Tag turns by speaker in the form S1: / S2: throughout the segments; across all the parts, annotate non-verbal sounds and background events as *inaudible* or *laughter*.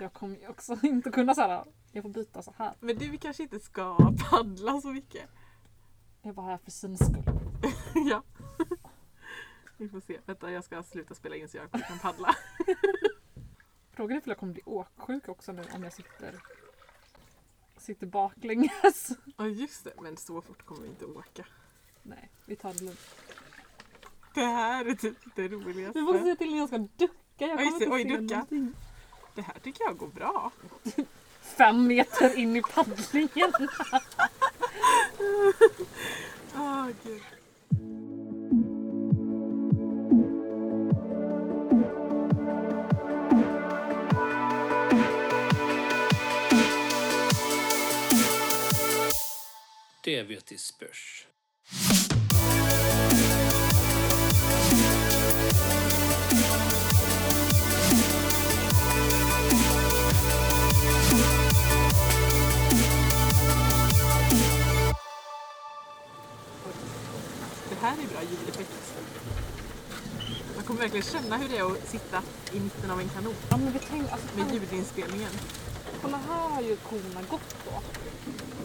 S1: Jag kommer ju också *laughs* inte kunna så här. Jag får byta så här.
S2: Men du kanske inte ska paddla så mycket. *laughs*
S1: Jag är bara här för syns skull.
S2: ja. Vi får se. Vänta, jag ska sluta spela in så jag kan paddla. *laughs*
S1: Frågan är om jag kommer bli åksjuk också nu om jag sitter sitter baklänges. *laughs*
S2: Ja, just det. Men så fort kommer vi inte åka.
S1: Nej, vi tar det lugnt.
S2: Det här är typ det roligaste.
S1: Vi måste se till när jag ska ducka. Jag
S2: Oj,
S1: kommer
S2: se-
S1: inte
S2: oj,
S1: se
S2: ducka.
S1: någonting.
S2: Det här tycker jag går bra.
S1: Fem meter in i paddlingen.
S2: Åh, gud.
S3: Det vet i spörs.
S2: Det här är bra ljudeffekt. Man kommer verkligen känna hur det är att sitta i mitten av en kanot
S1: *laughs* Ja men vi tänker, alltså,
S2: med
S1: tänk,
S2: ljudinspelningen.
S1: kolla här har ju korna gått då.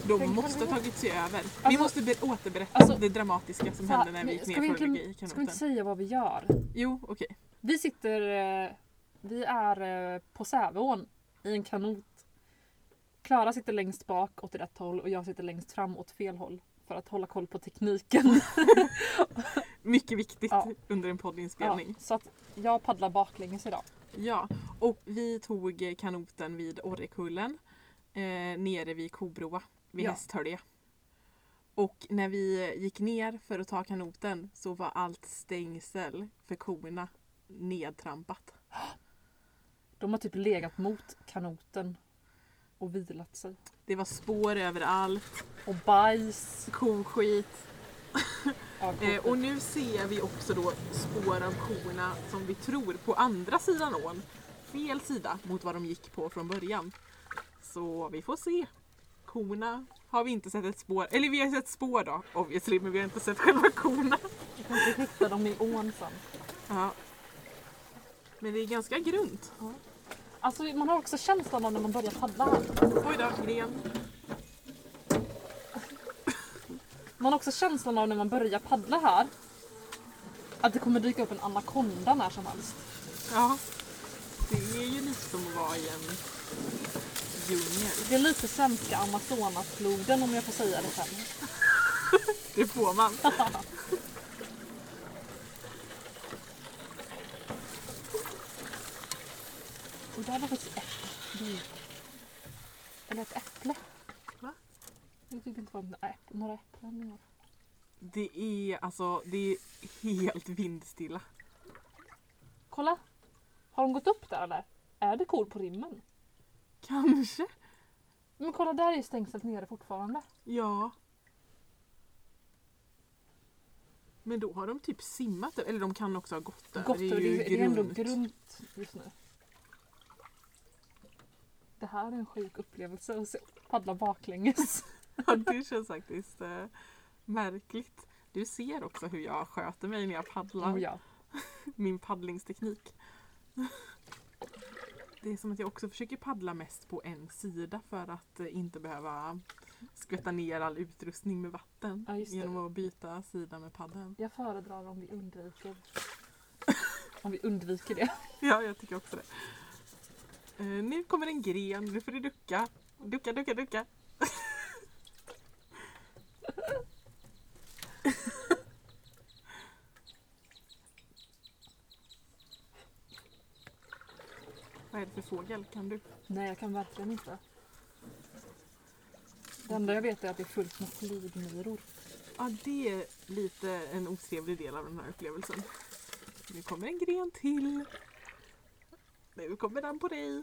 S2: De
S1: Tänk
S2: måste
S1: vad
S2: ha
S1: det är.
S2: tagit sig över. Vi
S1: Alltså-
S2: måste be- återberätta
S1: alltså-
S2: det dramatiska som
S1: Så här,
S2: hände när vi
S1: men
S2: gick
S1: ska vi
S2: ner för att ligga
S1: egentligen-
S2: i
S1: Ska vi inte
S2: kanoten.
S1: säga vad vi gör?
S2: Jo, okej.
S1: Vi sitter, eh, vi är eh, på Säveån i en kanot. Klara sitter längst bak åt rätt håll och jag sitter längst fram åt fel håll. För att hålla koll på tekniken. *laughs*
S2: Mycket viktigt
S1: Ja.
S2: under en
S1: Ja,
S2: poddinspelning.
S1: så att jag paddlar baklänges idag.
S2: Ja. och vi tog eh, kanoten vid Orrekullen eh, nere vid Kobroa vid
S1: Ja.
S2: Hästhölje. Och när vi gick ner för att ta kanoten så var allt stängsel för korna nedtrampat.
S1: De har typ legat mot kanoten och vilat sig.
S2: Det var spår överallt,
S1: Och bajs.
S2: koskit.
S1: Ja,
S2: Eh, och nu ser vi också då spår av korna som vi tror på andra sidan ån. Fel sida mot vad de gick på från början. Så vi får se. Korna har vi inte sett ett spår, eller vi har sett spår då obviously, men vi har inte sett själva korna.
S1: Vi kan inte hitta dem i ån sen.
S2: Ja. Men det är ganska grunt.
S1: Alltså man har också känslan av när man börjar paddla här.
S2: Oj då, gren.
S1: Man har också känslan av när man börjar paddla här. Att det kommer dyka upp en anakonda när som helst.
S2: Ja. Det är ju lite som att vara i en djungel.
S1: Det är lite svenska Amazonasfloden om jag får säga det själv.
S2: Det får *laughs* man.
S1: Och där var faktiskt ett djur. Eller ett äpple.
S2: Va?
S1: Jag tyckte inte det var några äpp- några äpplen. i år.
S2: Det är alltså, det är helt vindstilla.
S1: Kolla! Har de gått upp där eller? Är det kor på rimmen?
S2: Kanske.
S1: Men kolla där är ju stängslet nere fortfarande.
S2: Ja. Men då har de typ simmat över- eller de kan också ha gått över.
S1: Gott,
S2: det
S1: och
S2: är ju
S1: det är ändå
S2: grunt.
S1: grunt just nu. Det här är en sjuk upplevelse att se- paddla baklänges.
S2: Ja, det känns faktiskt eh, märkligt. Du ser också hur jag sköter mig när jag paddlar.
S1: Oh ja.
S2: Min paddlingsteknik. Det är som att jag också försöker paddla mest på en sida för att eh, inte behöva skvätta ner all utrustning med vatten
S1: Ja, just det.
S2: genom att byta sida med paddeln.
S1: Jag föredrar om vi undviker Om vi undviker det.
S2: *laughs* Ja, jag tycker också det. Eh, nu kommer en gren, nu får du ducka. Ducka, ducka, ducka. *laughs* Vad är det för fågel? Kan du?
S1: Nej, jag kan verkligen inte. Det enda jag vet är att det är fullt med flygmyror.
S2: Ja, det är lite en otrevlig del av den här upplevelsen. Nu kommer en gren till. Nu kommer den på dig.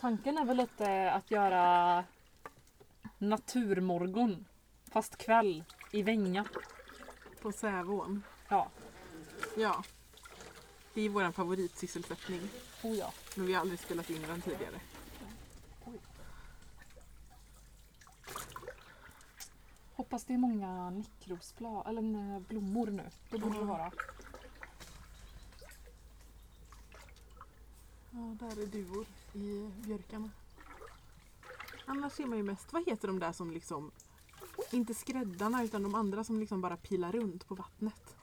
S1: Tanken är väl lite att göra naturmorgon fast kväll i Vänga.
S2: På Sävån.
S1: Ja,
S2: Ja. Det är vår favoritsysselsättning.
S1: oh ja.
S2: Men vi har aldrig spelat in den tidigare.
S1: Hoppas det är många nikrosblad, eller nej, blommor nu. Det borde det
S2: Mm.
S1: vara.
S2: Ja, där är duvor i björkarna. Annars ser man ju mest, vad heter de där som liksom, inte skräddarna utan de andra som liksom bara pilar runt på vattnet.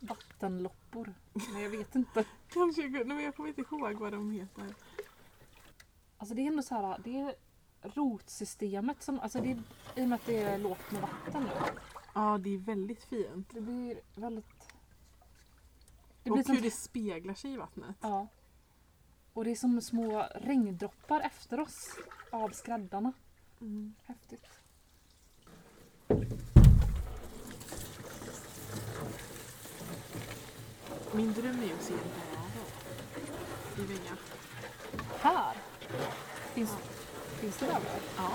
S1: Vattenloppor. Nej jag vet inte.
S2: Kanske, nej men jag kommer inte ihåg vad de heter.
S1: Alltså det är ändå så här, det är rotsystemet som, alltså det är, i och med att det är lågt med vatten nu.
S2: Ja, det är väldigt fint.
S1: Det blir väldigt... Det
S2: och
S1: blir som,
S2: hur det speglar sig i vattnet.
S1: ja. Och det är som små regndroppar efter oss av skräddarna.
S2: Mm.
S1: Häftigt.
S2: Min dröm är ju att se en bäver i Vinga.
S1: Här! Finns, finns det där?
S2: Ja,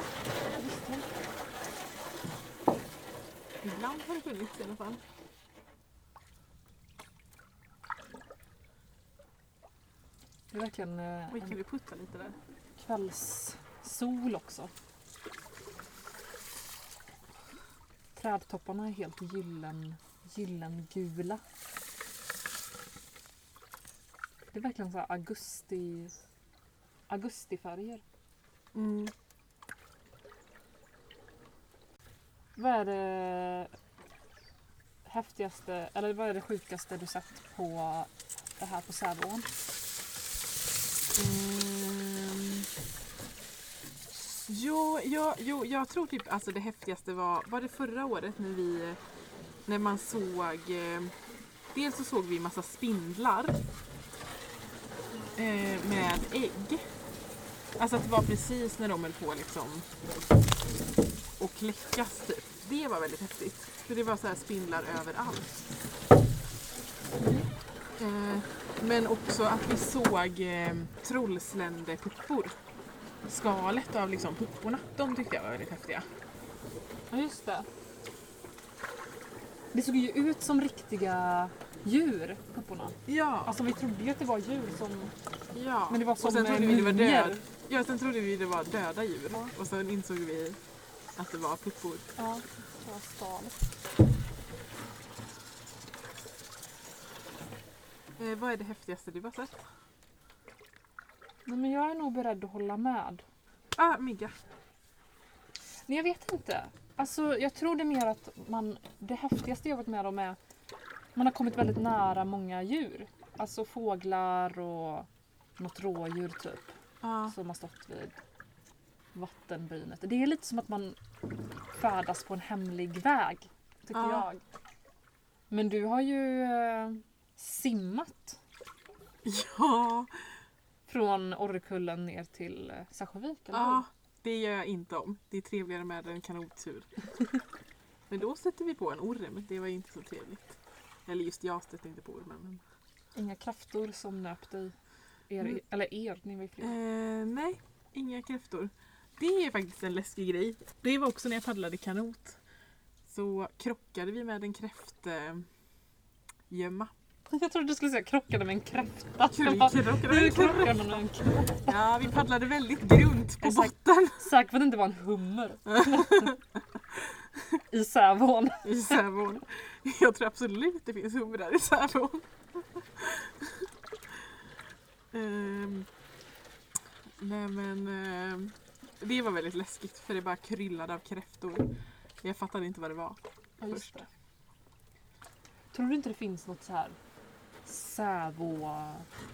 S1: Just det.
S2: ibland har det funnits i alla fall.
S1: Det är verkligen eh,
S2: Oj, kan
S1: en
S2: vi putta lite där?
S1: kvällssol också. Trädtopparna är helt gyllen, gyllengula. Det är verkligen så här augusti, augustifärger.
S2: Mm.
S1: Vad är det häftigaste, eller vad är det sjukaste du sett på det här på Säveån?
S2: Ehm. Jo, ja, jo, jag tror typ alltså det häftigaste var, var det förra året när vi, när man såg, eh, dels så såg vi massa spindlar eh, med ägg. Alltså att det var precis när de höll på liksom och kläckas typ. Det var väldigt häftigt. För det var så här spindlar överallt. Mm. Eh, men också att vi såg eh, trollsländepuppor. Skalet av liksom pupporna, de tyckte jag var väldigt häftiga.
S1: Ja, just det. Det såg ju ut som riktiga djur, pupporna.
S2: Ja,
S1: Alltså vi trodde ju att det var djur som...
S2: ja.
S1: Men det var som
S2: och sen trodde
S1: eh,
S2: vi det var
S1: mumier.
S2: död. Ja, sen trodde vi det var döda djur. Och sen insåg vi att det var puppor.
S1: Ja, det var skal.
S2: Eh, vad är det häftigaste du har sett?
S1: Nej, men jag är nog beredd att hålla med.
S2: Ah, mygga.
S1: Nej, jag vet inte. Alltså, jag tror det är mer att man... Det häftigaste jag varit med om är... Man har kommit väldigt nära många djur. Alltså fåglar och något rådjur typ.
S2: Ja,
S1: som har stått vid vattenbrynet. Det är lite som att man färdas på en hemlig väg, tycker
S2: Ja.
S1: jag. Men du har ju eh, simmat
S2: ja,
S1: från Orrekullen ner till eh, Särsjövik, eller
S2: ja.
S1: hur?
S2: det gör jag inte om. Det är trevligare med en *laughs* kanottur. men då stötte vi på en orm. Det var ju inte så trevligt. Eller just jag stötte inte på ormen. Men...
S1: Inga krafter som nöp dig. Er,
S2: Mm.
S1: Eller er, ni var ju fler.
S2: Eh, nej, inga kräftor. Det är faktiskt en läskig grej. Det var också när jag paddlade kanot. Så krockade vi med en kräftgömma.
S1: Jag trodde du skulle säga krockade med en kräfta. Jag bara, Hur
S2: Krockade
S1: krockade man med en kräfta?
S2: Ja, vi paddlade väldigt grunt på
S1: Exakt.
S2: botten
S1: Säkert för att det inte var en *laughs* hummer. I Sävån.
S2: i Sävån. Jag tror absolut det finns humrar i Sävån. Ehm, nej men ehm, det var väldigt läskigt för det bara kryllade av kräftor. Jag fattade inte vad det var.
S1: Ja, just
S2: först.
S1: det. Tror du inte det finns något så här Sävo-monstret?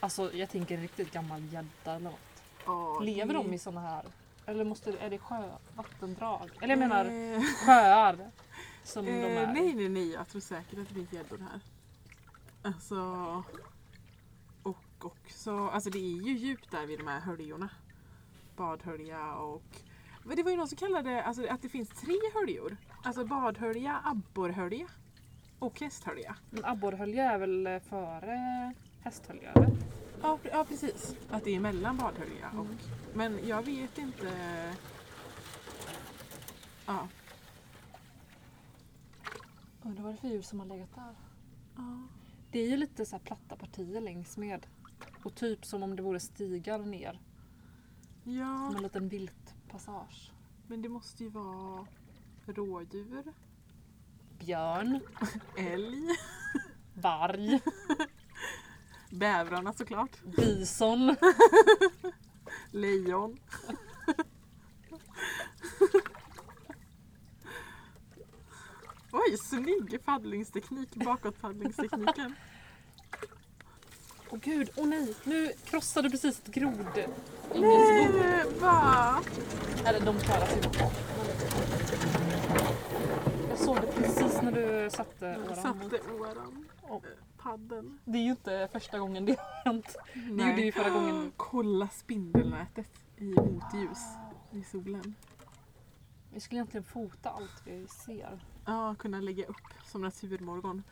S1: Alltså jag tänker en riktigt gammal gädda eller något.
S2: Ja,
S1: Lever
S2: det-
S1: de i såna här? Eller måste, är det sjö, vattendrag? Eller jag menar
S2: Eh,
S1: sjöar som de
S2: eh,
S1: är
S2: nej,
S1: i.
S2: nej, nej. Jag tror säkert att det finns gäddor här. Alltså... Och också... Alltså det är ju djupt där vid de här höljorna. Badhölja och... Men det var ju någon som kallade alltså, att det finns tre höljor. Alltså badhölja, abborrhölja och hästhölja.
S1: Men abborrhölje är väl eh, före hästhölje? eller?
S2: Ja, pre- ja precis. Mm. Att det är mellan badhölja och... Men jag vet inte... Ja.
S1: Undrar vad det är för djur som har legat där.
S2: ja.
S1: Det är ju lite så här platta partier längs med. Och typ som om det vore stigar ner.
S2: Ja.
S1: Som en liten viltpassage.
S2: Men det måste ju vara rådjur,
S1: Björn.
S2: älg,
S1: varg,
S2: Bävrarna såklart.
S1: bison.
S2: Lejon. Oj, snygg paddlingsteknik, bakåtpaddlingstekniken.
S1: Åh gud, åh nej! Nu krossade precis ett grod.
S2: Nej, Eh, va?
S1: Eller de klarar sig nog. Jag såg det precis när du satte
S2: Jag
S1: åran mot.
S2: satte åran.
S1: Och
S2: Paddeln.
S1: Det är ju inte första gången det har hänt. Det
S2: Nej.
S1: gjorde ju förra gången.
S2: Kolla spindelnätet i motljus i solen.
S1: Vi skulle egentligen fota allt vi ser.
S2: Ja, kunna lägga upp som naturmorgon.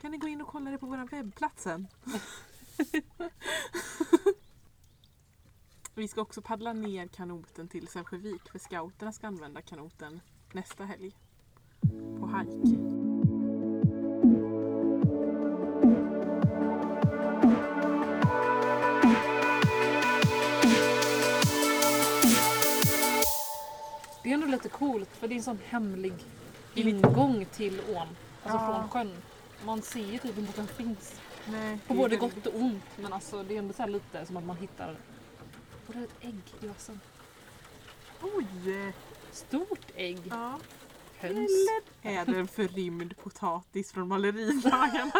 S2: Kan ni gå in och kolla det på vår
S1: *laughs*
S2: webbplats sen? Vi ska också paddla ner kanoten till Sävsjövik för scouterna ska använda kanoten nästa helg. På hajk.
S1: Det är ändå lite coolt för det är en sån hemlig Mm. ingång till ån. Alltså
S2: Ja.
S1: från sjön. Man ser ju typ inte att den finns.
S2: Nej,
S1: På
S2: det är
S1: både
S2: väldigt-
S1: gott och ont. Men alltså det är ändå så här lite som att man hittar... Och det är ett ägg i vassen.
S2: Oj!
S1: Stort ägg.
S2: Ja.
S1: Höns.
S2: Är det en förrymd potatis
S1: *laughs*
S2: från maleridagarna?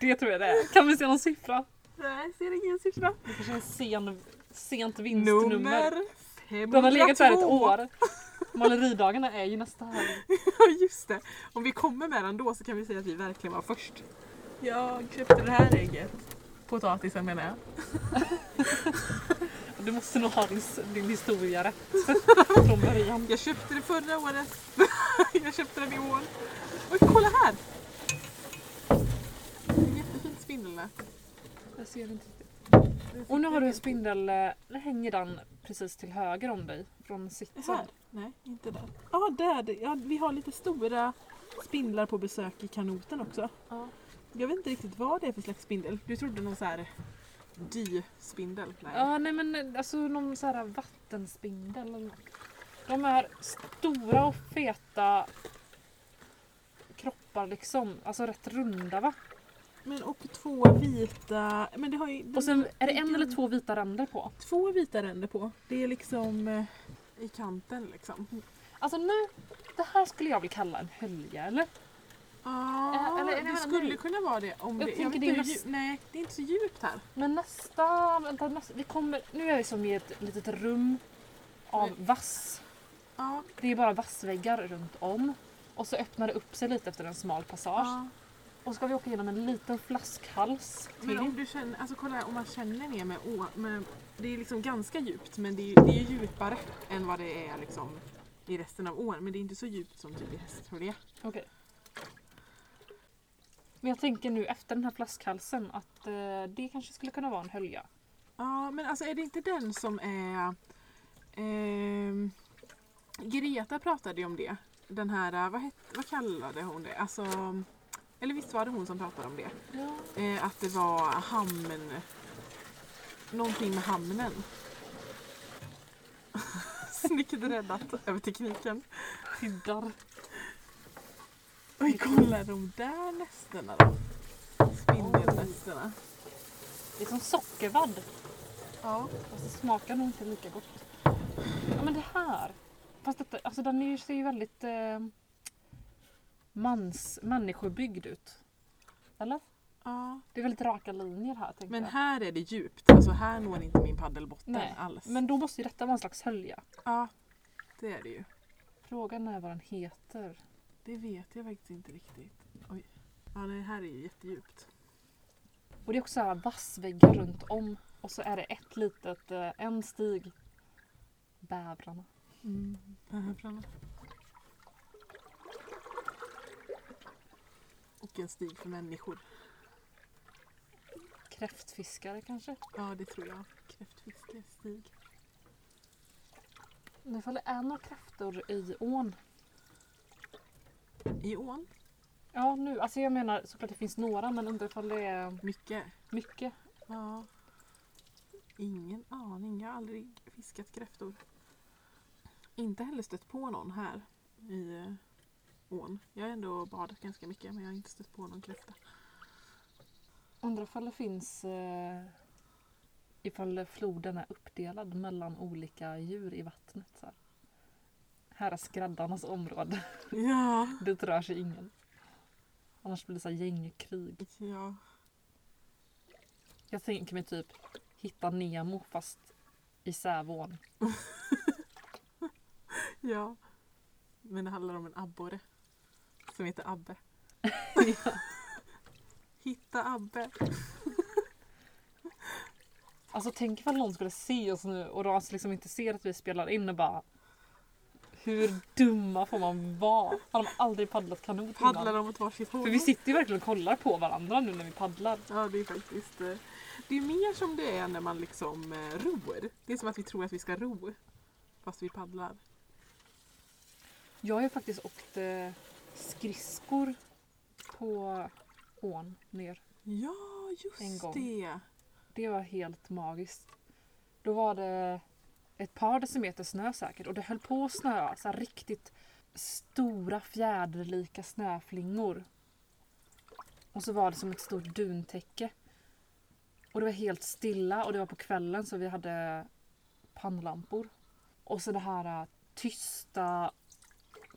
S1: Det tror jag det är. Kan vi se någon siffra?
S2: Nej, ser ingen siffra.
S1: Det kanske är en sen, sent vinstnummer.
S2: Nummer 502.
S1: Den har legat där ett år. Maleridagarna är ju nästa helg.
S2: *laughs* Ja just det. Om vi kommer med den då så kan vi säga att vi verkligen var först. Jag köpte det här ägget. Potatisen menar jag.
S1: Du måste nog ha din, din historia *laughs* rätt från början.
S2: Jag köpte det förra året. *laughs* jag köpte den i år. Oj, kolla här! Jättefint spindelnät.
S1: Jag ser inte riktigt. Och nu har du en spindel, eh, nu hänger den precis till höger om dig från sitsen.
S2: Här? Nej, inte där. Ja, där. det- Ja, vi har lite stora spindlar på besök i kanoten också.
S1: Ja.
S2: Jag vet inte riktigt vad det är för slags spindel. Du trodde någon så här dyspindel? Nej.
S1: Ja, nej men eh, alltså någon sån här vattenspindel eller något. De är stora och feta kroppar liksom, alltså rätt runda va?
S2: Men och två vita... Men det har ju,
S1: Och sen är det en eller två vita ränder på.
S2: två vita ränder på. Det är liksom eh, i kanten liksom.
S1: Alltså nu, det här skulle jag vilja kalla en hölja eller?
S2: Ja,
S1: Eh, eller är det
S2: det
S1: väl-
S2: skulle
S1: nej.
S2: kunna vara det. Om
S1: Jag
S2: det,
S1: tänker
S2: vet
S1: det är
S2: inte hur
S1: näst-
S2: dju- Nej, det är inte så djupt här.
S1: Men nästa, vänta, nästa, vi kommer, nu är vi som i ett litet rum av
S2: Nej.
S1: vass.
S2: Ja,
S1: Det är bara vassväggar runt om. Och så öppnar det upp sig lite efter en smal passage.
S2: ja.
S1: Och så ska vi åka igenom en liten flaskhals till.
S2: Men om du känner, alltså kolla här, om man känner ner med, å, med Det är liksom ganska djupt men det är, det är djupare än vad det är liksom i resten av ån. Men det är inte så djupt som typ i Hästholja.
S1: Okej. Men jag tänker nu efter den här flaskhalsen att eh, det kanske skulle kunna vara en hölja.
S2: Ja, men alltså är det inte den som är... ehm, Greta pratade ju om det. Den här, eh, vad, het, vad kallade hon det? Alltså, eller visst var det hon som pratade om det?
S1: Ja.
S2: Eh, att det var hamn... Någonting med hamnen. *laughs* Snyggt räddat över tekniken.
S1: Hyddar.
S2: Oj, kolla de där nästena då. Spindelnästena.
S1: Det är som sockervadd.
S2: Ja.
S1: Fast det smakar nog inte lika gott. Ja men det här. Fast detta, alltså den är ju, ser ju väldigt eh, mans, människobyggd ut. Eller?
S2: ja.
S1: Det är väldigt raka linjer här tänker
S2: Men
S1: jag.
S2: här är det djupt. Alltså här når inte min paddel botten
S1: Nej,
S2: alls.
S1: Men då måste ju detta vara en slags hölja.
S2: Ja, det är det ju.
S1: Frågan är vad den heter.
S2: Det vet jag faktiskt inte riktigt. Oj. Ja, det här är ju jättedjupt.
S1: Och det är också så här vassväggar runt om. Och så är det ett litet, eh, en stig. Bävrarna.
S2: Här framme. Och en stig för människor.
S1: Kräftfiskare kanske?
S2: Ja, det tror jag. Kräftfiske, stig.
S1: Men Ifall det är några kräftor i ån.
S2: I ån?
S1: Ja nu, alltså jag menar såklart det finns några men undrar ifall det är
S2: Mycket.
S1: mycket.
S2: Ja. Ingen aning. Jag har aldrig fiskat kräftor. Inte heller stött på någon här i, eh, ån. Jag har ändå badat ganska mycket men jag har inte stött på någon kräfta.
S1: Undrar ifall det finns eh, ifall floden är uppdelad mellan olika djur i vattnet. Så här. här är skräddarnas område.
S2: Ja.
S1: Dit rör sig ingen. Annars blir det så här gängkrig.
S2: ja.
S1: Jag tänker mig typ hitta Nemo fast i Sävån.
S2: Ja. Men det handlar om en abborre. Som heter
S1: *laughs*
S2: Abbe. Hitta Abbe.
S1: Alltså tänk ifall någon skulle se oss nu och Ras liksom inte ser att vi spelar in och bara Hur dumma får man vara? Har de aldrig paddlat kanot
S2: Paddlar
S1: innan?
S2: de åt varsitt håll?
S1: För vi sitter ju verkligen och kollar på varandra nu när vi paddlar.
S2: Ja, det är faktiskt... eh, Det är mer som det är när man liksom eh, ror. Det är som att vi tror att vi ska ro. Fast vi paddlar.
S1: Jag har ju faktiskt åkt eh, skridskor på ån ner.
S2: Ja,
S1: En
S2: just
S1: gång.
S2: det.
S1: Det var helt magiskt. Då var det ett par decimeter snö säkert och det höll på att snöa. Så här riktigt stora fjäderlika snöflingor. Och så var det som ett stort duntäcke. Och det var helt stilla och det var på kvällen så vi hade pannlampor. Och så det här eh, tysta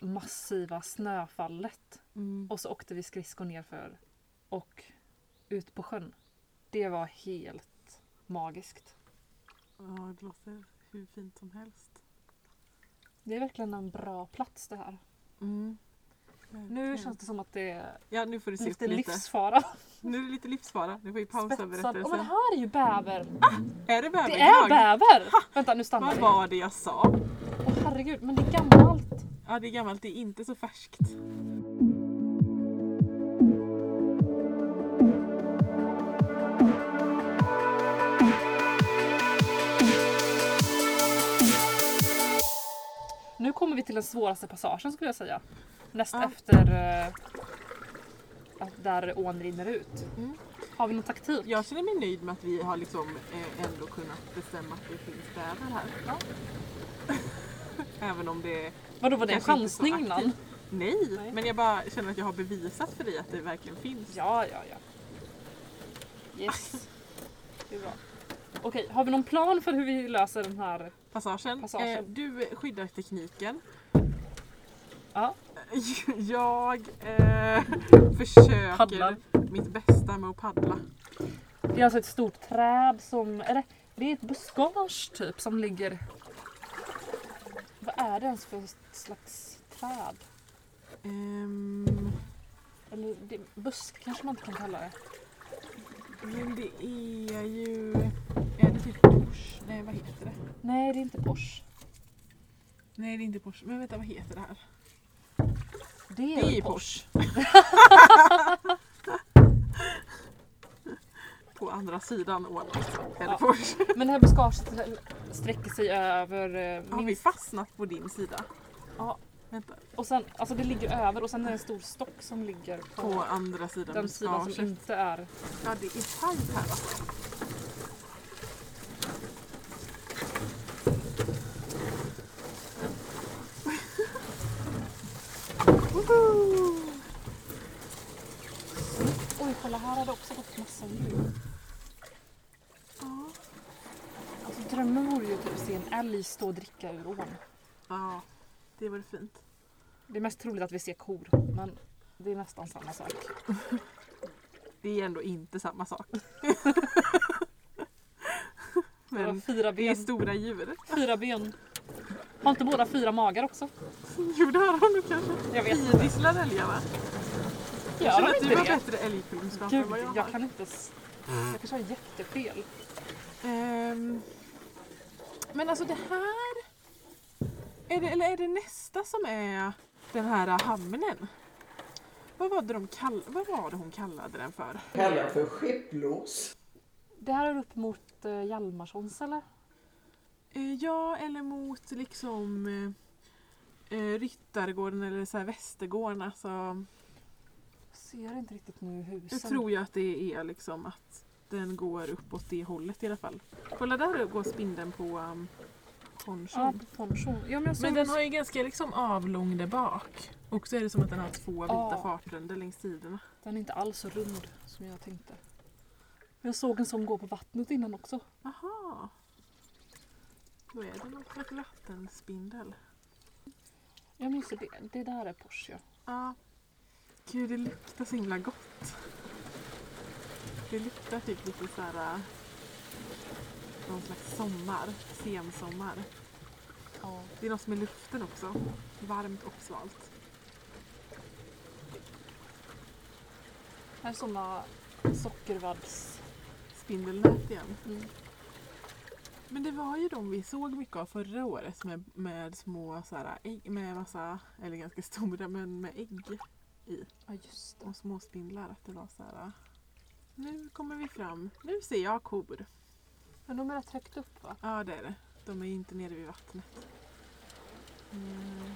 S1: massiva snöfallet.
S2: Mm.
S1: Och så åkte vi skridskor nerför och ut på sjön. Det var helt magiskt.
S2: Ja, det låter hur fint som helst.
S1: Det är verkligen en bra plats det här.
S2: Mm.
S1: Nu känns det som att det är
S2: Ja, nu får du se upp
S1: lite
S2: lite.
S1: livsfara.
S2: Nu är det lite livsfara. Nu får vi pausa
S1: Spetsad. Åh men
S2: berättelsen.
S1: här är ju bäver!
S2: Är det
S1: Det är
S2: bäverdrag?
S1: bäver! Vänta nu stannar
S2: Mm. Vad
S1: vi.
S2: var det jag sa?
S1: Åh herregud, men det är gammalt.
S2: Ja, det är gammalt. Det är inte så färskt.
S1: Nu kommer vi till den svåraste passagen skulle jag säga. Näst
S2: Ja.
S1: efter eh, att där ån rinner ut.
S2: Mm.
S1: Har vi någon taktik?
S2: Jag känner mig nöjd med att vi har liksom eh, ändå kunnat bestämma att det finns bäver här. *laughs* Även om det...
S1: Vadå var det en
S2: Kanske inte så
S1: chansning
S2: aktiv.
S1: innan?
S2: Nej,
S1: Nej.
S2: men jag bara känner att jag har bevisat för dig att det verkligen finns.
S1: Ja, ja, ja. Yes. Det är bra. Okej, har vi någon plan för hur vi löser den här?
S2: Passagen.
S1: Passagen.
S2: Eh, du skyddar tekniken.
S1: Ja.
S2: *laughs* Jag eh, försöker
S1: Paddlar.
S2: mitt bästa med att paddla.
S1: Det är alltså ett stort träd som... Eller det är ett buskage typ som ligger... Vad är det ens för slags träd?
S2: Ehm,
S1: Eller det, busk kanske man inte kan kalla det.
S2: men det är ju... Är det typ Porsche? Nej, vad heter det?
S1: Nej, det är inte pors.
S2: Nej, det är inte Porsche. Men vänta, vad heter det här?
S1: Det
S2: Det
S1: är,
S2: är ju
S1: det
S2: Porsche. *laughs* På andra sidan ån alltså. Är det
S1: Ja.
S2: Porsche?
S1: Men det här buskaget sträcker sig över... eh,
S2: Har vi
S1: minst-
S2: fastnat på din sida?
S1: Ja.
S2: Vänta.
S1: Och sen, alltså det ligger över och sen är det en stor stock som ligger på,
S2: På andra sidan
S1: den sidan som
S2: buskaget.
S1: inte är
S2: Ja, det är tajt här alltså. *laughs* Woho!
S1: Oj, kolla här har det också gått massa djur.
S2: Ja.
S1: Alltså drömmen vore ju typ att se en älg stå och dricka ur ån.
S2: Ja, det var fint.
S1: Det är mest troligt att vi ser kor, men det är nästan samma sak.
S2: Det är ändå inte
S1: *laughs*
S2: samma sak.
S1: Det var
S2: Men
S1: fyra
S2: det är
S1: ben.
S2: stora djur.
S1: Fyra ben. Har inte båda fyra magar också?
S2: Jo, det har de nog kanske.
S1: Jag vet inte.
S2: Idisslar älgar va?
S1: Gör
S2: känner
S1: de
S2: att du
S1: inte
S2: har
S1: det?
S2: bättre älgkunskap än vad jag
S1: Gud,
S2: har.
S1: jag kan inte... s- Jag kanske har jättefel.
S2: Ehm, men alltså det här... Är det, eller är det nästa som är den här hamnen? Vad var det, de kall, vad var det hon kallade den för?
S4: kallar för skepplos.
S1: Det här är upp mot eh, Hjalmarssons eller?
S2: Eh, ja, eller mot liksom eh, eh, Ryttargården eller så här Västergården. Alltså,
S1: Ser inte riktigt nu husen.
S2: jag tror ju att det är liksom att den går uppåt det hållet i alla fall. Kolla där går spindeln på um,
S1: Ja,
S2: Ponchon.
S1: på ponchon. Ja, men jag såg
S2: Men den har ju ganska liksom avlång där bak. Och så är det som att den har två vita
S1: Ja.
S2: fartränder längs sidorna.
S1: Den är inte alls så rund som jag tänkte. Men Jag såg en som går på vattnet innan också.
S2: Aha. Då är det någon slags vattenspindel.
S1: Jag minns det. Det där är Porsche. ja.
S2: Ja. Gud, det luktar så himla gott. Det luktar typ lite så här... äh, Någon slags sommar. Sensommar.
S1: Ja.
S2: Det är något med luften också. Varmt och svalt.
S1: Här är såna sockervadds...
S2: Spindelnät igen.
S1: Mm.
S2: Men det var ju de vi såg mycket av förra året med, med små så här, ägg, med massa, eller ganska stora, men med ägg
S1: Ja, just det.
S2: och små spindlar. Att det var så här, "Ah, nu kommer vi fram, nu ser jag kor.
S1: Men de är rätt högt upp va?
S2: Ja, det är det. De är ju inte nere vid vattnet. Mm.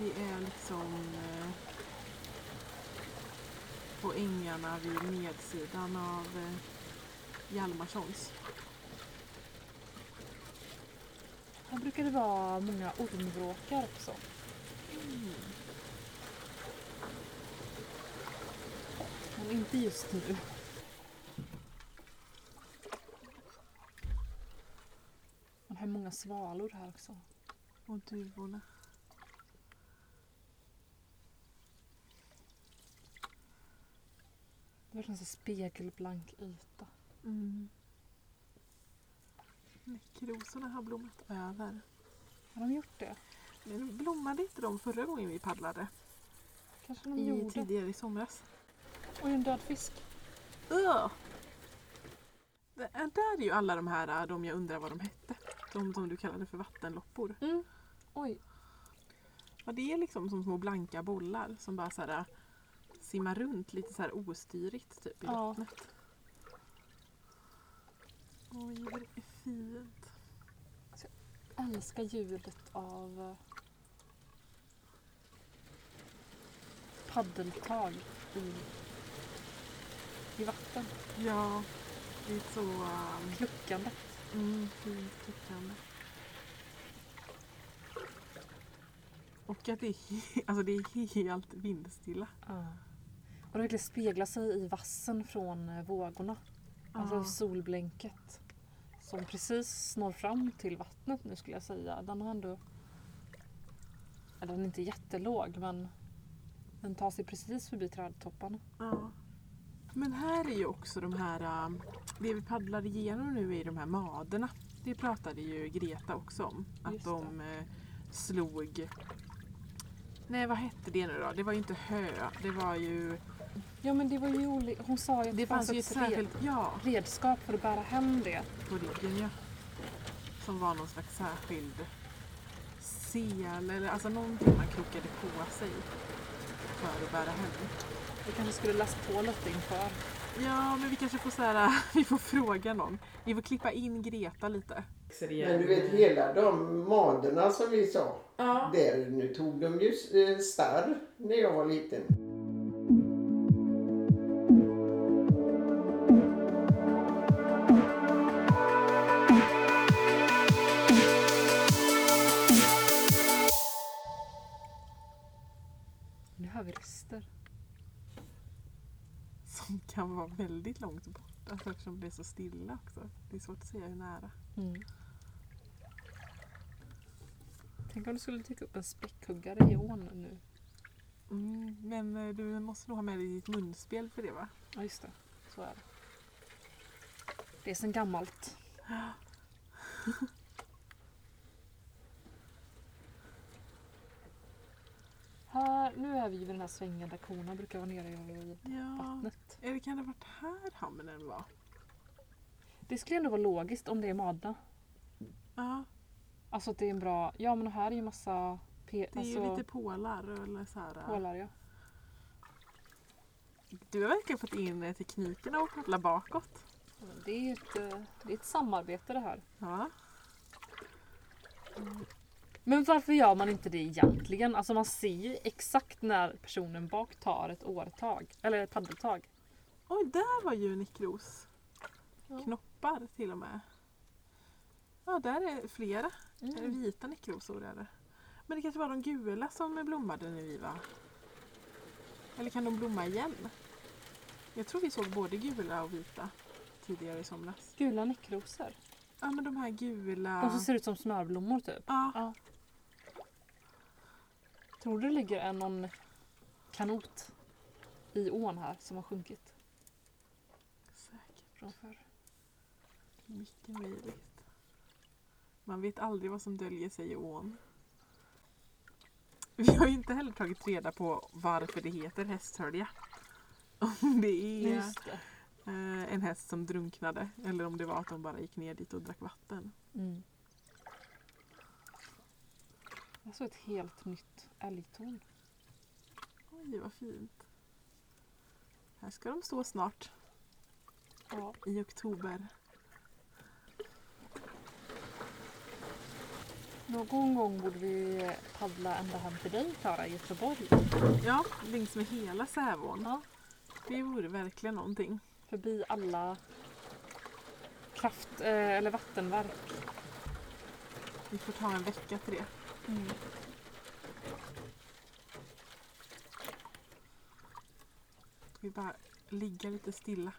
S2: Vi är liksom eh, på ängarna vid nedsidan av eh, Hjalmarssons.
S1: Här brukar det vara många ormvråkar också. Mm. Men inte just nu. Man har många svalor här också.
S2: Och duvorna.
S1: Det verkar som en spegelblank yta.
S2: Mm. Näckrosorna har blommat över.
S1: Har de gjort det?
S2: Men blommade inte de förra gången vi paddlade?
S1: Kanske de
S2: I,
S1: gjorde.
S2: tidigare i somras.
S1: Oj, en död fisk.
S2: Ugh. Det är där är ju alla de här, äh, de jag undrar vad de hette. De som du kallade för vattenloppor.
S1: Mm. Oj,
S2: Ja, det är liksom som små blanka bollar som bara så här, äh, simmar runt lite så här ostyrigt typ i
S1: Ja.
S2: vattnet. Oj, vad det är fint.
S1: älskar ljudet av eh, paddeltag i, i vatten.
S2: Ja, det är så... ähm,
S1: Kluckandet.
S2: Mm, fint tyckande. Och att det är, he- alltså det är helt vindstilla.
S1: Och det verkligen speglar sig i vassen från eh, vågorna. Alltså
S2: Ja.
S1: solblänket. Som precis når fram till vattnet nu skulle jag säga. Den har ändå... ja, Den är inte jättelåg men den tar sig precis förbi trädtopparna.
S2: Ja. Men här är ju också de här, ähm, det vi paddlar igenom nu är de här maderna. Det pratade ju Greta också om. Att
S1: Just
S2: de eh, slog... Nej vad hette det nu då? Det var ju inte hö. Det var ju...
S1: Ja men det var ju oli- Hon sa ju att
S2: Det fanns ju ett
S1: red-
S2: särskilt... Ja,
S1: redskap för att bära hem det.
S2: på ryggen ja. Som var någon slags särskild sel eller alltså någonting man krokade på sig för att bära hem.
S1: Vi kanske skulle läst på lite inför.
S2: Ja, men vi kanske får så här, *laughs* vi får fråga någon. Vi får klippa in Greta lite.
S4: Men du vet hela de maderna som vi sa.
S2: Ja.
S4: Där, nu tog de ju eh, starr när jag var liten.
S1: Nu hör vi röster.
S2: Som kan vara väldigt långt bort, alltså eftersom det är så stilla också. Det är svårt att säga hur nära.
S1: Mm. Tänk om du skulle dyka upp en späckhuggare i ån nu.
S2: Mm, men eh, du måste nog ha med dig ditt munspel för det va?
S1: Ja just det, så är det. Det är sen gammalt. här, nu är vi vid den här svängen där korna brukar vara nere i
S2: Ja.
S1: vattnet.
S2: Eller kan det ha varit här hamnen var?
S1: Det skulle ändå vara logiskt om det är Madna.
S2: Ja,
S1: Alltså att det är en bra... Ja men här är ju massa... Pe-
S2: det är ju
S1: alltså,
S2: lite pålar eller så här. eh,
S1: pålar ja.
S2: Du har verkligen fått in eh, teknikerna och koppla bakåt.
S1: Ja, men Det är ju ett, eh, det är ett samarbete det här.
S2: Ja.
S1: Men varför gör man inte det egentligen? Alltså man ser ju exakt när personen bak tar ett årtag. Eller ett paddeltag.
S2: Oj, där var ju en ikros.
S1: Ja.
S2: Knoppar till och med. Ja, där är flera
S1: Mm.
S2: eh, vita nekrosor. Är det. Men det kanske var de gula som blommade nu i va? Eller kan de blomma igen? Jag tror vi såg både gula och vita tidigare i somras.
S1: Gula näckrosor.
S2: Ja, men de här gula...
S1: De som ser ut som smörblommor typ.
S2: Ja,
S1: Tror du det ligger en någon kanot i ån här som har sjunkit
S2: säkert.
S1: från förr?
S2: Mycket möjligt. Man vet aldrig vad som döljer sig i ån. Vi har ju inte heller tagit reda på varför det heter hästhölja. Om det är
S1: Just det.
S2: eh, en häst som drunknade eller om det var att de bara gick ner dit och drack vatten.
S1: Mm. Jag såg Alltså, ett helt nytt älgtorn.
S2: Oj, vad fint. Här ska de stå snart
S1: Ja.
S2: i oktober.
S1: Någon gång borde vi paddla ända hem till dig Klara i Göteborg.
S2: Ja, längs med hela Sävån.
S1: Ja.
S2: Det vore verkligen någonting.
S1: Förbi alla kraft eh, eller vattenverk.
S2: Vi får ta en vecka till det.
S1: Mm.
S2: Vi bara ligga lite stilla.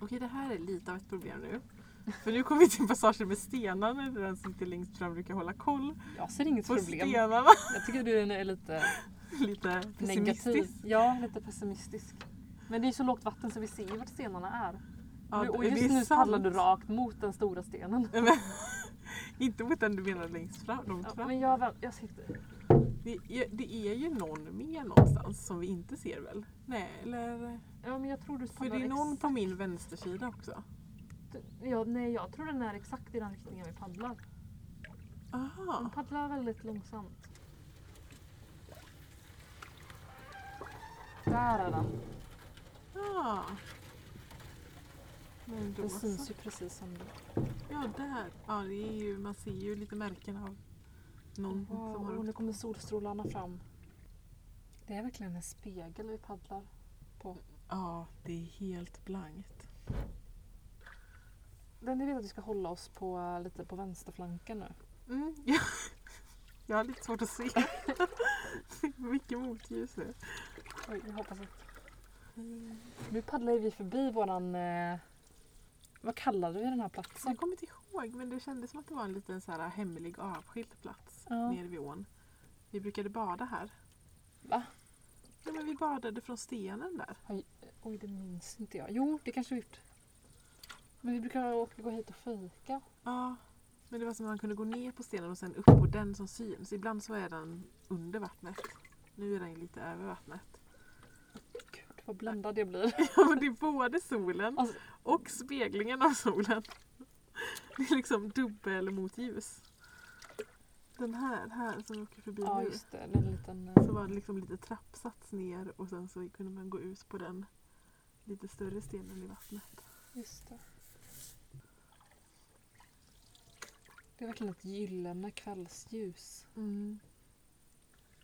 S2: Okej, det här är lite av ett problem nu. För nu kommer vi till passagen med stenarna där den som sitter längst fram brukar hålla koll
S1: Jag ser inget
S2: på
S1: problem.
S2: stenarna.
S1: Jag tycker du är lite
S2: Lite
S1: negativ.
S2: pessimistisk.
S1: Ja, lite pessimistisk. Men det är så lågt vatten så vi ser ju vart stenarna är.
S2: Ja,
S1: Nu- och
S2: det- det
S1: just
S2: är
S1: nu
S2: sant.
S1: paddlar du rakt mot den stora stenen.
S2: Nej, men- Inte mot den du menar längst fram.
S1: Ja,
S2: Långt fram.
S1: men jag, vä- jag sitter...
S2: Det, ja, det är ju någon mer någonstans som vi inte ser väl? Nej, eller?
S1: Ja, men jag tror du
S2: För
S1: paddlar
S2: det är någon
S1: ex-
S2: på min vänstersida också.
S1: ja, Nej, jag tror den är exakt i den riktningen vi paddlar.
S2: Aha.
S1: Den paddlar väldigt långsamt. Där är den.
S2: Ja. Men då
S1: Den
S2: så.
S1: syns ju precis som det.
S2: Ja, där. Ja, det är ju, man ser ju lite märken av
S1: Mm.
S2: någon som
S1: Wow,
S2: har
S1: och nu
S2: åkt.
S1: kommer solstolarna fram. Det är verkligen en spegel vi paddlar på.
S2: Ja, det är helt blankt.
S1: Den ni vet att vi ska hålla oss på eh, lite på vänsterflanken nu.
S2: Mm, ja. *laughs* Jag har lite svårt att se. *laughs* Det är Mycket motljus nu.
S1: Oj, jag hoppas att... Mm. Nu paddlar ju vi förbi våran... Eh, vad kallade vi den här platsen?
S2: Jag kommer inte ihåg, men det kändes som att det var en liten så här hemlig avskild plats
S1: Ja.
S2: nere vid ån. Vi brukade bada här.
S1: Va?
S2: Ja, men vi badade från stenen där.
S1: Oj, det minns inte jag. Jo, det kanske vi gjort. Men vi brukar åka, gå hit och fika.
S2: Ja, men det var som att man kunde gå ner på stenen och sen upp på den som syns. Ibland så är den under vattnet. Nu är den ju lite över vattnet. *laughs*
S1: Gud, vad bländad jag blir.
S2: Ja, men det är både solen
S1: Alltså-
S2: och speglingen av solen. Det är liksom dubbel mot ljus. Den här, här som vi åker förbi
S1: Ja,
S2: nu.
S1: just det. Det är en liten... eh,
S2: Så var det liksom lite trappsats ner och sen så kunde man gå ut på den lite större stenen i vattnet.
S1: Just det. Det är verkligen ett gyllene kvällsljus.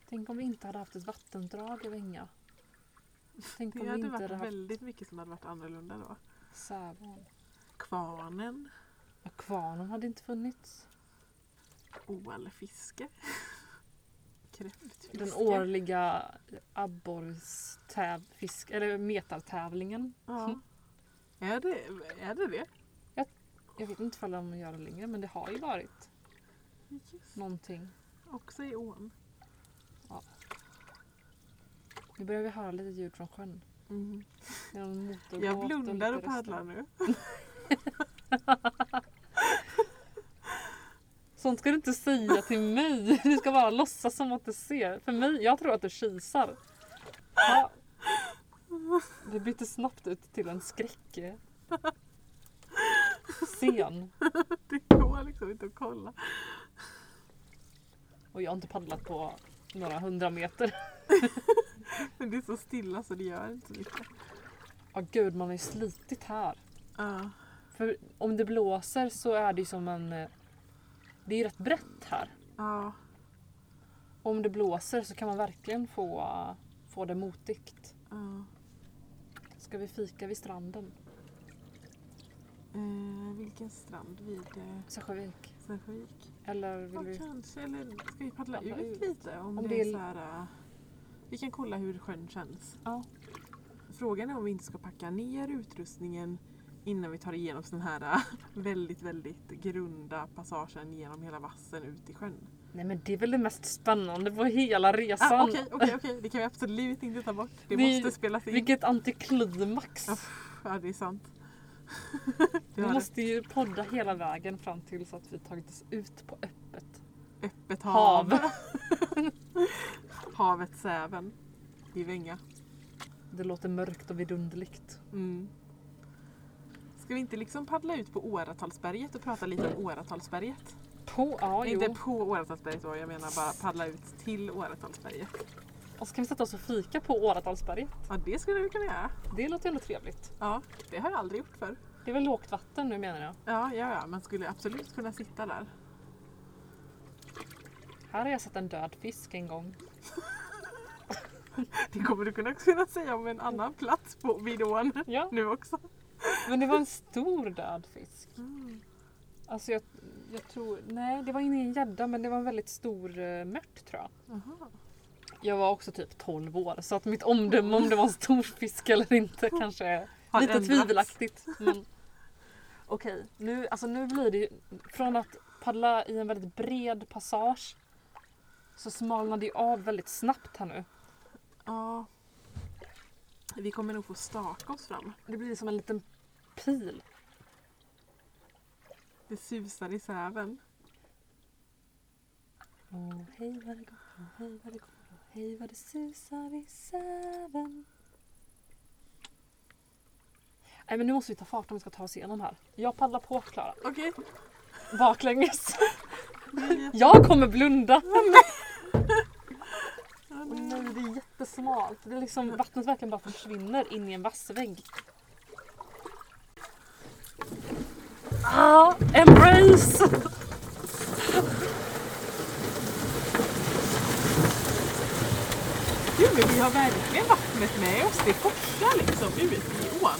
S1: Tänk om vi inte hade haft ett vattendrag över Änga. Tänk om
S2: Det
S1: vi inte
S2: hade
S1: hade
S2: varit
S1: haft
S2: väldigt mycket som hade varit annorlunda då.
S1: Sävån.
S2: Kvarnen,
S1: Ja, kvarnen hade inte funnits.
S2: ålfiske, *laughs* kräftfiske.
S1: Den årliga abborrstävfisk, eller metartävlingen.
S2: Ja. Är det är det? det?
S1: Jag vet inte ifall de gör det längre men det har ju varit
S2: Just.
S1: någonting.
S2: Också i ån.
S1: Nu börjar vi höra lite ljud från sjön. Mm. Det är någon motorbåt
S2: Jag blundar och
S1: lite röster.
S2: paddlar nu. *laughs*
S1: Sånt ska du inte säga till mig. *laughs* Du ska bara låtsas som att du ser. För mig, jag tror att du kisar. Ja. Det bytte snabbt ut till en skräck. eh, Sen.
S2: Det går liksom inte att kolla.
S1: Och jag har inte paddlat på några hundra meter.
S2: Men det är så stilla så det gör inte så mycket.
S1: Ja gud, man har ju slitit här.
S2: Ja.
S1: För om det blåser så är det ju som en... eh, Det är ju rätt brett här.
S2: Ja.
S1: Om det blåser så kan man verkligen få, eh, få det motigt.
S2: ja.
S1: Ska vi fika vid stranden?
S2: Eh, vilken strand? Vid eh,
S1: Säsjövik?
S2: Sävehof?
S1: Eller
S2: Ja,
S1: vill vi...
S2: kanske. Eller ska vi paddla
S1: Paddla
S2: ut
S1: ut.
S2: lite? Om, det är så här, eh, vi kan kolla hur sjön känns.
S1: Ja.
S2: Frågan är om vi inte ska packa ner utrustningen innan vi tar igenom den här eh, *laughs* väldigt, väldigt grunda passagen genom hela vassen ut i sjön. Äh,
S1: Nej men det är väl det mest spännande på hela resan.
S2: Ah, Okej, okej, okej. Det kan vi absolut inte ta bort. Det
S1: Vi-
S2: måste spelas in.
S1: Vilket antiklimax!
S2: Ja, det är sant.
S1: *laughs* Vi
S2: Du har
S1: måste ju podda hela vägen fram till så att vi tagit oss ut på öppet
S2: öppet hav. *laughs*
S1: hav.
S2: Havet Säven. I Vänga.
S1: Det låter mörkt och vidunderligt.
S2: Mm. Ska vi inte liksom paddla ut på Åratalsberget och prata lite om Åratalsberget?
S1: På, ja,
S2: Nej, inte
S1: jo.
S2: på Åratalsberget då, jag menar bara paddla ut till Åratalsberget.
S1: Och så kan vi sätta oss och fika på Åratalsberget.
S2: Ja, det skulle vi kunna göra.
S1: Det låter ju ändå trevligt.
S2: Ja, det har jag aldrig gjort förr.
S1: Det är väl lågt vatten nu menar jag.
S2: Ja, ja, ja, man skulle absolut kunna sitta där.
S1: Här har jag sett en död fisk en gång.
S2: Det kommer du kunna kunna säga om en annan plats på vid ån
S1: Ja,
S2: nu också.
S1: men det var en stor död fisk. Alltså jag, jag tror, nej det var ingen gädda men det var en väldigt stor eh, mört tror jag.
S2: Jaha.
S1: Jag var också typ 12 år så att mitt omdöme om det var en stor fisk eller inte kanske är
S2: Har
S1: lite
S2: ändrats.
S1: tvivelaktigt. Mm. Men... *laughs* Okej, nu, alltså nu blir det ju från att paddla i en väldigt bred passage så smalnar det ju av väldigt snabbt här nu.
S2: Ja. Vi kommer nog få staka oss fram.
S1: Det blir som en liten pil.
S2: Det susar i säven.
S1: Åh, hej vad det går, åh, hej vad det går, åh, hej vad det susar i säven. Nej men nu måste vi ta fart om vi ska ta oss igenom här. Jag paddlar på Klara,
S2: Okej.
S1: baklänges. Jag kommer blunda. Och nej, det är jättesmalt. Det är liksom, vattnet verkligen bara försvinner in i en vassvägg. Ah, embrace!
S2: Gud, men vi har verkligen vattnet med oss. Det forsar liksom ut i ån.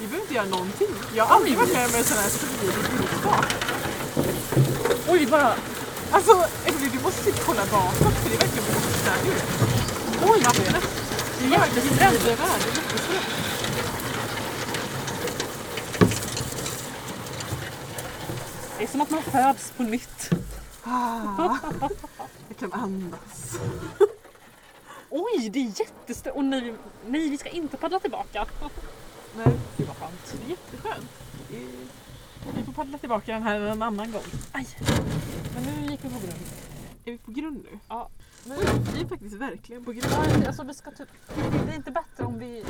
S2: Vi behöver inte göra någonting. Jag har aldrig varit med om en sån här smidig bildbak.
S1: Oj, bara...
S2: Alltså, Emelie, du måste typ kolla bakåt för det är verkligen forsar ut. Oj, vattnet. Det är jättesträmt. Det är jättesträmt.
S1: Det är som att man föds på nytt.
S2: Ah, jag kan andas.
S1: Oj, det är jättestort. Och nej, nej, vi ska inte paddla tillbaka.
S2: Nej,
S1: Gud vad skönt.
S2: det är jätteskönt. Vi- Vi får paddla tillbaka den här en annan gång.
S1: Aj. Men nu gick vi på grund.
S2: Är vi på grund nu?
S1: Ja. Men,
S2: Vi är faktiskt verkligen på grund.
S1: alltså, vi ska typ... Det är inte bättre om vi...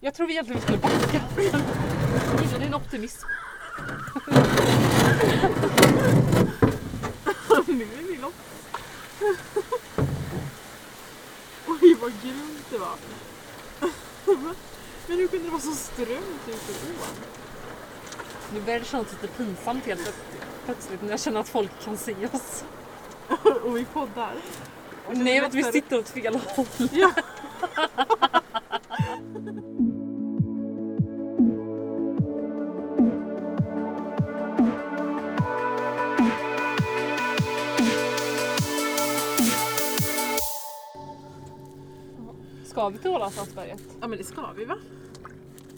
S1: Jag tror vi egentligen skulle backa. Gillar din optimism?
S2: nu är vi lopp. *laughs* Oj vad grymt det var. Men hur kunde det vara så strömt ute på ån?
S1: Nu börjar det kännas lite pinsamt helt plötsligt när jag känner att folk kan se oss.
S2: Och vi poddar.
S1: Och nej, att vi sitter åt fel *laughs* håll.
S2: Ja.
S1: Ska vi till Ålandsberget?
S2: ja men det ska vi va?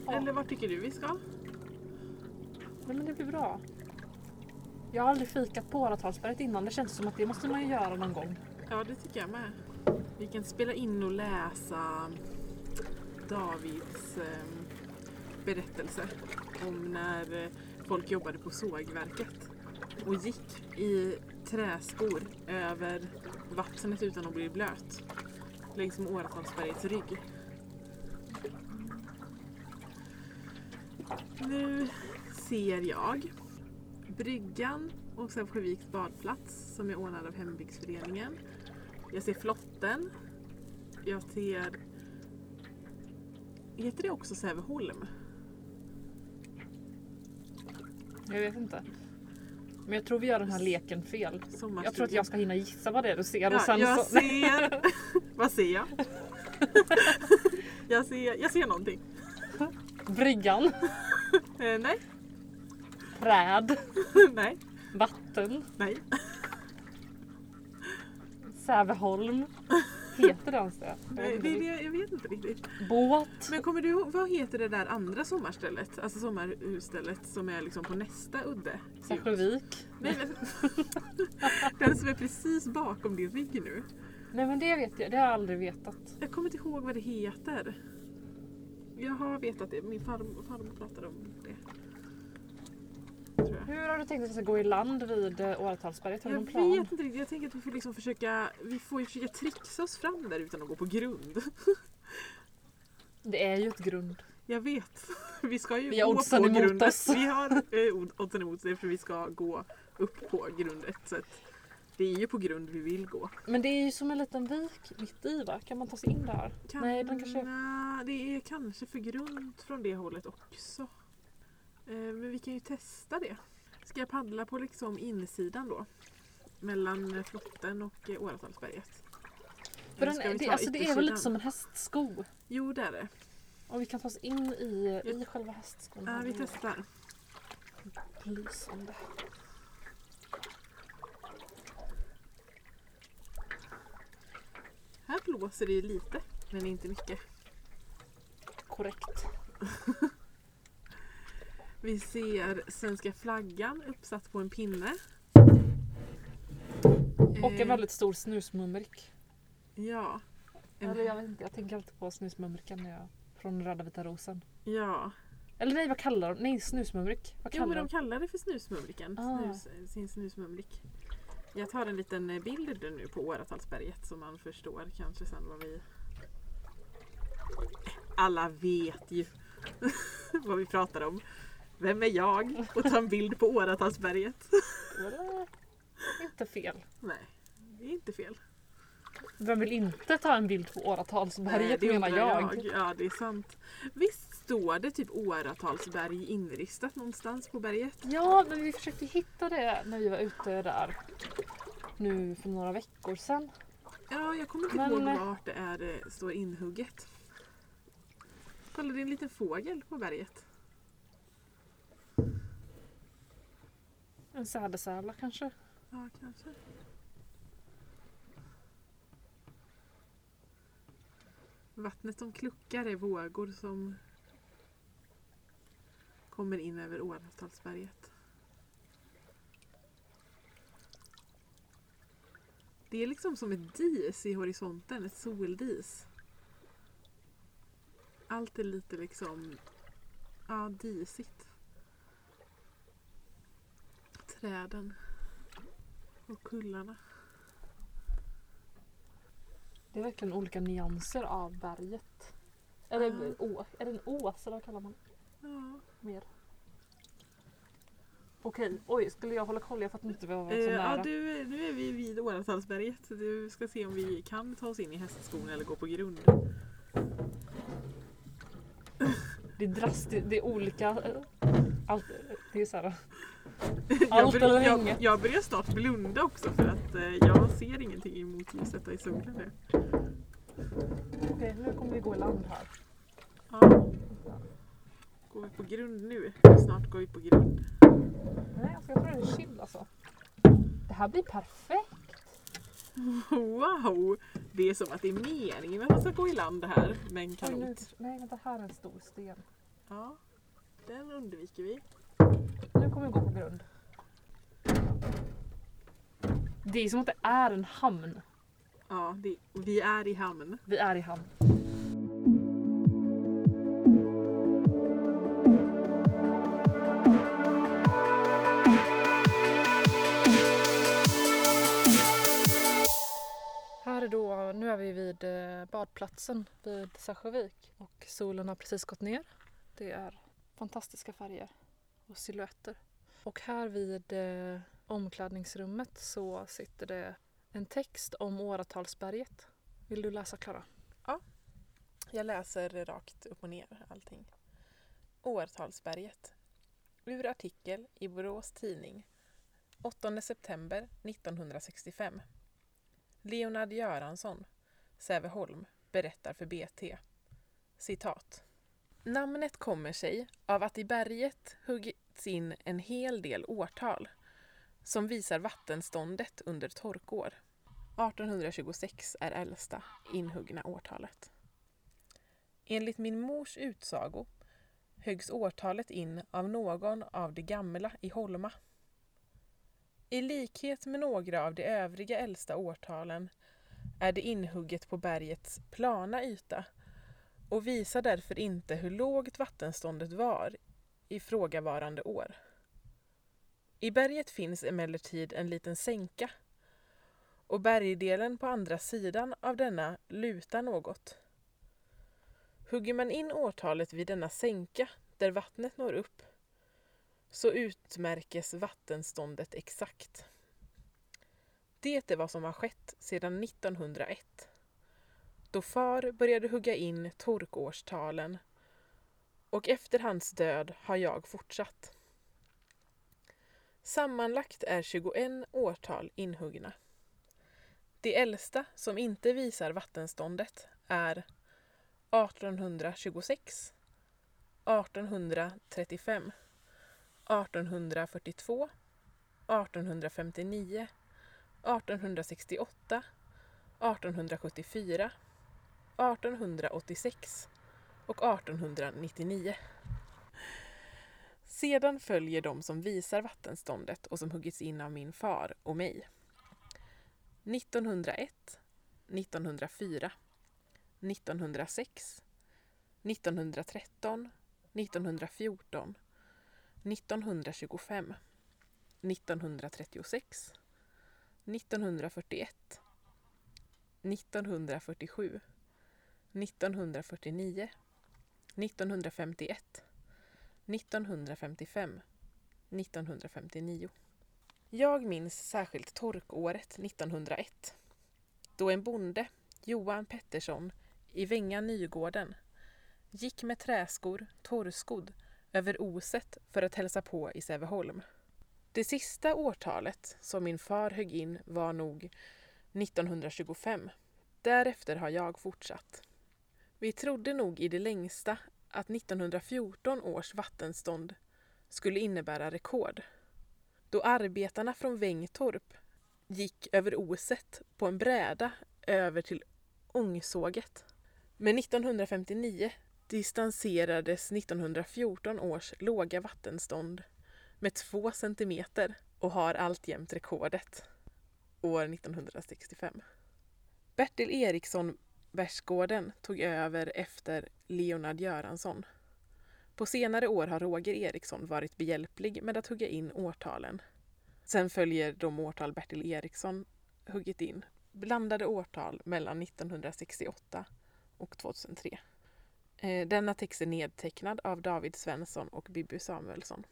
S1: Ja.
S2: Eller vad tycker du vi ska?
S1: Nej men det blir bra. Jag har aldrig fikat på Ålandsberget innan. Det känns som att det måste man ju göra någon gång.
S2: Ja det tycker jag med. Vi kan spela in och läsa Davids ehm, berättelse om när eh, folk jobbade på sågverket och gick i träskor över vattnet utan att bli blöt längs med Åretalsbergets rygg. Nu ser jag bryggan och Sävsjöviks badplats som är ordnad av hembygdsföreningen. Jag ser flotten. Jag ser... Heter det också Säveholm?
S1: Jag vet inte. Men jag tror vi gör den här leken fel. Jag tror att jag ska hinna gissa vad det är du ser och
S2: Ja,
S1: sen
S2: jag
S1: så... *laughs*
S2: ser... *laughs* Vad ser jag? jag, ser, jag ser någonting.
S1: Bryggan,
S2: Eh, nej, *laughs*
S1: träd,
S2: nej,
S1: vatten,
S2: nej.
S1: Säveholm. Heter det ens det? Jag vet inte
S2: nej det,
S1: riktigt.
S2: det, jag vet inte riktigt.
S1: Båt.
S2: Men kommer du ihåg, vad heter det där andra sommarstället? Alltså sommarhusstället som är liksom på nästa udde?
S1: Sävsjövik.
S2: Nej, men... *laughs* Den som är precis bakom din rygg nu.
S1: Nej men det vet jag, det har jag aldrig vetat.
S2: Jag kommer inte ihåg vad det heter. Jag har vetat det, min farmor, farmor pratade om det. Tror jag.
S1: Hur har du tänkt att vi ska gå i land vid eh, Åretalsberget? Har du
S2: Jag
S1: någon plan?
S2: vet inte riktigt. Jag tänker att vi får liksom försöka, vi får ju försöka trixa oss fram där utan att gå på grund.
S1: Det är ju ett grund.
S2: Jag vet. *laughs* Vi ska ju
S1: Vi har
S2: gå
S1: oddsen
S2: på
S1: emot
S2: grundet.
S1: oss.
S2: Vi har eh, od- oddsen emot sig för vi ska gå upp på grundet. Så att det är ju på grund vi vill gå.
S1: Men det är ju som en liten vik mitt i va? Kan man ta sig in där?
S2: Kan,
S1: Nej, den kanske-
S2: Nä, det är kanske för grunt från det hållet också. Eh, Men vi kan ju testa det. Ska jag paddla på liksom insidan då? Mellan eh, flotten och eh, Åretalsberget.
S1: För
S2: Eller ska
S1: den,
S2: vi
S1: det,
S2: ta
S1: alltså, det är väl
S2: yttersidan?
S1: lite som en hästsko?
S2: Jo, det är det.
S1: Om vi kan ta oss in i,
S2: Ja.
S1: i själva hästskon.
S2: Ja, vi testar.
S1: Lysande.
S2: Här blåser det ju lite, men inte mycket.
S1: Korrekt.
S2: Vi ser svenska flaggan uppsatt på en pinne.
S1: Och en
S2: Eh,
S1: väldigt stor snusmumrik.
S2: Ja. En-
S1: Eller jag vet inte, jag tänker alltid på snusmumriken när jag, från Röda Vita Rosen.
S2: Ja.
S1: Eller nej, vad kallar de? Nej, snusmumrik. Vad
S2: Jo,
S1: kallar
S2: men de
S1: de?
S2: kallar det för snusmumriken.
S1: Ah.
S2: Snus, sin snusmumrik. Jag tar en liten eh, bild nu på Åratalsberget så man förstår kanske sen vad vi... Alla vet ju *laughs* vad vi pratar om. Vem är jag och ta en bild på Åratalsberget?
S1: Det är Inte fel.
S2: Nej, det är inte fel.
S1: Vem vill inte ta en bild på Åratalsberget
S2: Nej, det
S1: menar
S2: undrar
S1: jag.
S2: Ja, det är sant. Visst står det typ Åratalsberg inristat någonstans på berget?
S1: Ja, men vi försökte hitta det när vi var ute där nu för några veckor sedan.
S2: Ja, jag kommer inte
S1: Men-
S2: ihåg vart det är det står inhugget. Kolla, det är en liten fågel på berget.
S1: En sädesärla kanske?
S2: Ja, kanske. Vattnet som kluckar är vågor som kommer in över Åretalsberget. Det är liksom som ett dis i horisonten, ett soldis. Allt är lite liksom, ja, disigt. Träden och kullarna.
S1: Det är verkligen olika nyanser av berget. Eller
S2: Ja.
S1: å, är det en ås eller vad kallar man
S2: Ja.
S1: mer? Okej, oj skulle jag hålla koll? Jag fattar inte vad jag var
S2: Eh,
S1: så nära.
S2: ja, du, nu är vi vid Åretalsberget. Du ska se om vi kan ta oss in i hästskon eller gå på grund. *laughs*
S1: Det är drastiskt, det är olika. eh, Allt, det är så
S2: *laughs*
S1: här. eh.
S2: jag,
S1: Allt
S2: bör-
S1: eller
S2: jag,
S1: inget.
S2: jag börjar snart blunda också för att eh, jag ser ingenting i motljuset i solen nu.
S1: Okej, nu kommer vi gå i land här.
S2: Ja. Går vi på grund nu? Snart går vi på grund. *laughs*
S1: Nej, alltså jag tror det är chill alltså. Det här blir perfekt.
S2: Wow! Det är som att det är meningen att man ska gå i land här med en
S1: Oj, nu,
S2: kanot.
S1: nej, vänta, här är en stor sten.
S2: Ja, den undviker vi.
S1: Nu kommer vi gå på grund. Det är som att det är en hamn.
S2: Ja, det, vi är i hamn.
S1: Vi är i hamn. Här är då, nu är vi vid eh, badplatsen vid Särsjövik och solen har precis gått ner. Det är fantastiska färger och silhuetter. Och här vid eh, omklädningsrummet så sitter det en text om Åratalsberget. Vill du läsa Klara?
S2: Jag läser rakt upp och ner allting. Årtalsberget. Ur artikel i Borås Tidning. 8 september 1965. Leonard Göransson, Sävehof, berättar för BT. Citat. Namnet kommer sig av att i berget huggits in en hel del årtal som visar vattenståndet under torkår. 1826 är äldsta inhuggna årtalet. Enligt min mors utsago höggs årtalet in av någon av de gamla i Holma. I likhet med några av de övriga äldsta årtalen är det inhugget på bergets plana yta och visar därför inte hur lågt vattenståndet var ifrågavarande år. I berget finns emellertid en liten sänka och bergdelen på andra sidan av denna lutar något. Hugger man in årtalet vid denna sänka där vattnet når upp så utmärkes vattenståndet exakt. Det är vad som har skett sedan 1901 då far började hugga in torkårstalen och efter hans död har jag fortsatt. Sammanlagt är 21 årtal inhuggna. Det äldsta som inte visar vattenståndet är 1826, 1835, 1842, 1859, 1868, 1874, 1886 och 1899. Sedan följer de som visar vattenståndet och som huggits in av min far och mig. 1901, 1904, 1906, 1913, 1914, 1925, 1936, 1941, 1947, 1949, 1951, 1955, 1959. Jag minns särskilt torkåret 1901 då en bonde Johan Pettersson i Vänga Nygården gick med träskor, torrskodd, över Oset för att hälsa på i Säveholm. Det sista årtalet som min far högg in var nog 1925. Därefter har jag fortsatt. Vi trodde nog i det längsta att 1914 års vattenstånd skulle innebära rekord. Då arbetarna från Vängtorp gick över Oset på en bräda över till Ångsåget. Men 1959 distanserades 1914 års låga vattenstånd med två centimeter och har alltjämt rekordet år 1965. Bertil Eriksson Bärsgården tog över efter Leonard Göransson. På senare år har Roger Eriksson varit behjälplig med att hugga in årtalen. Sen följer de årtal Bertil Eriksson huggit in blandade årtal mellan 1968 och 2003. Eh, Denna text är nedtecknad av David Svensson och Bibi Samuelsson.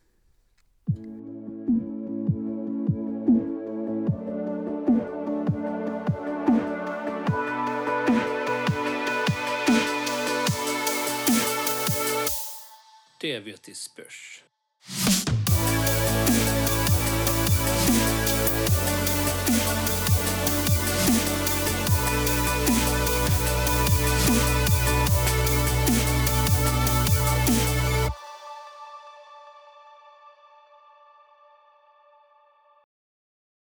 S3: Det vet i spörs.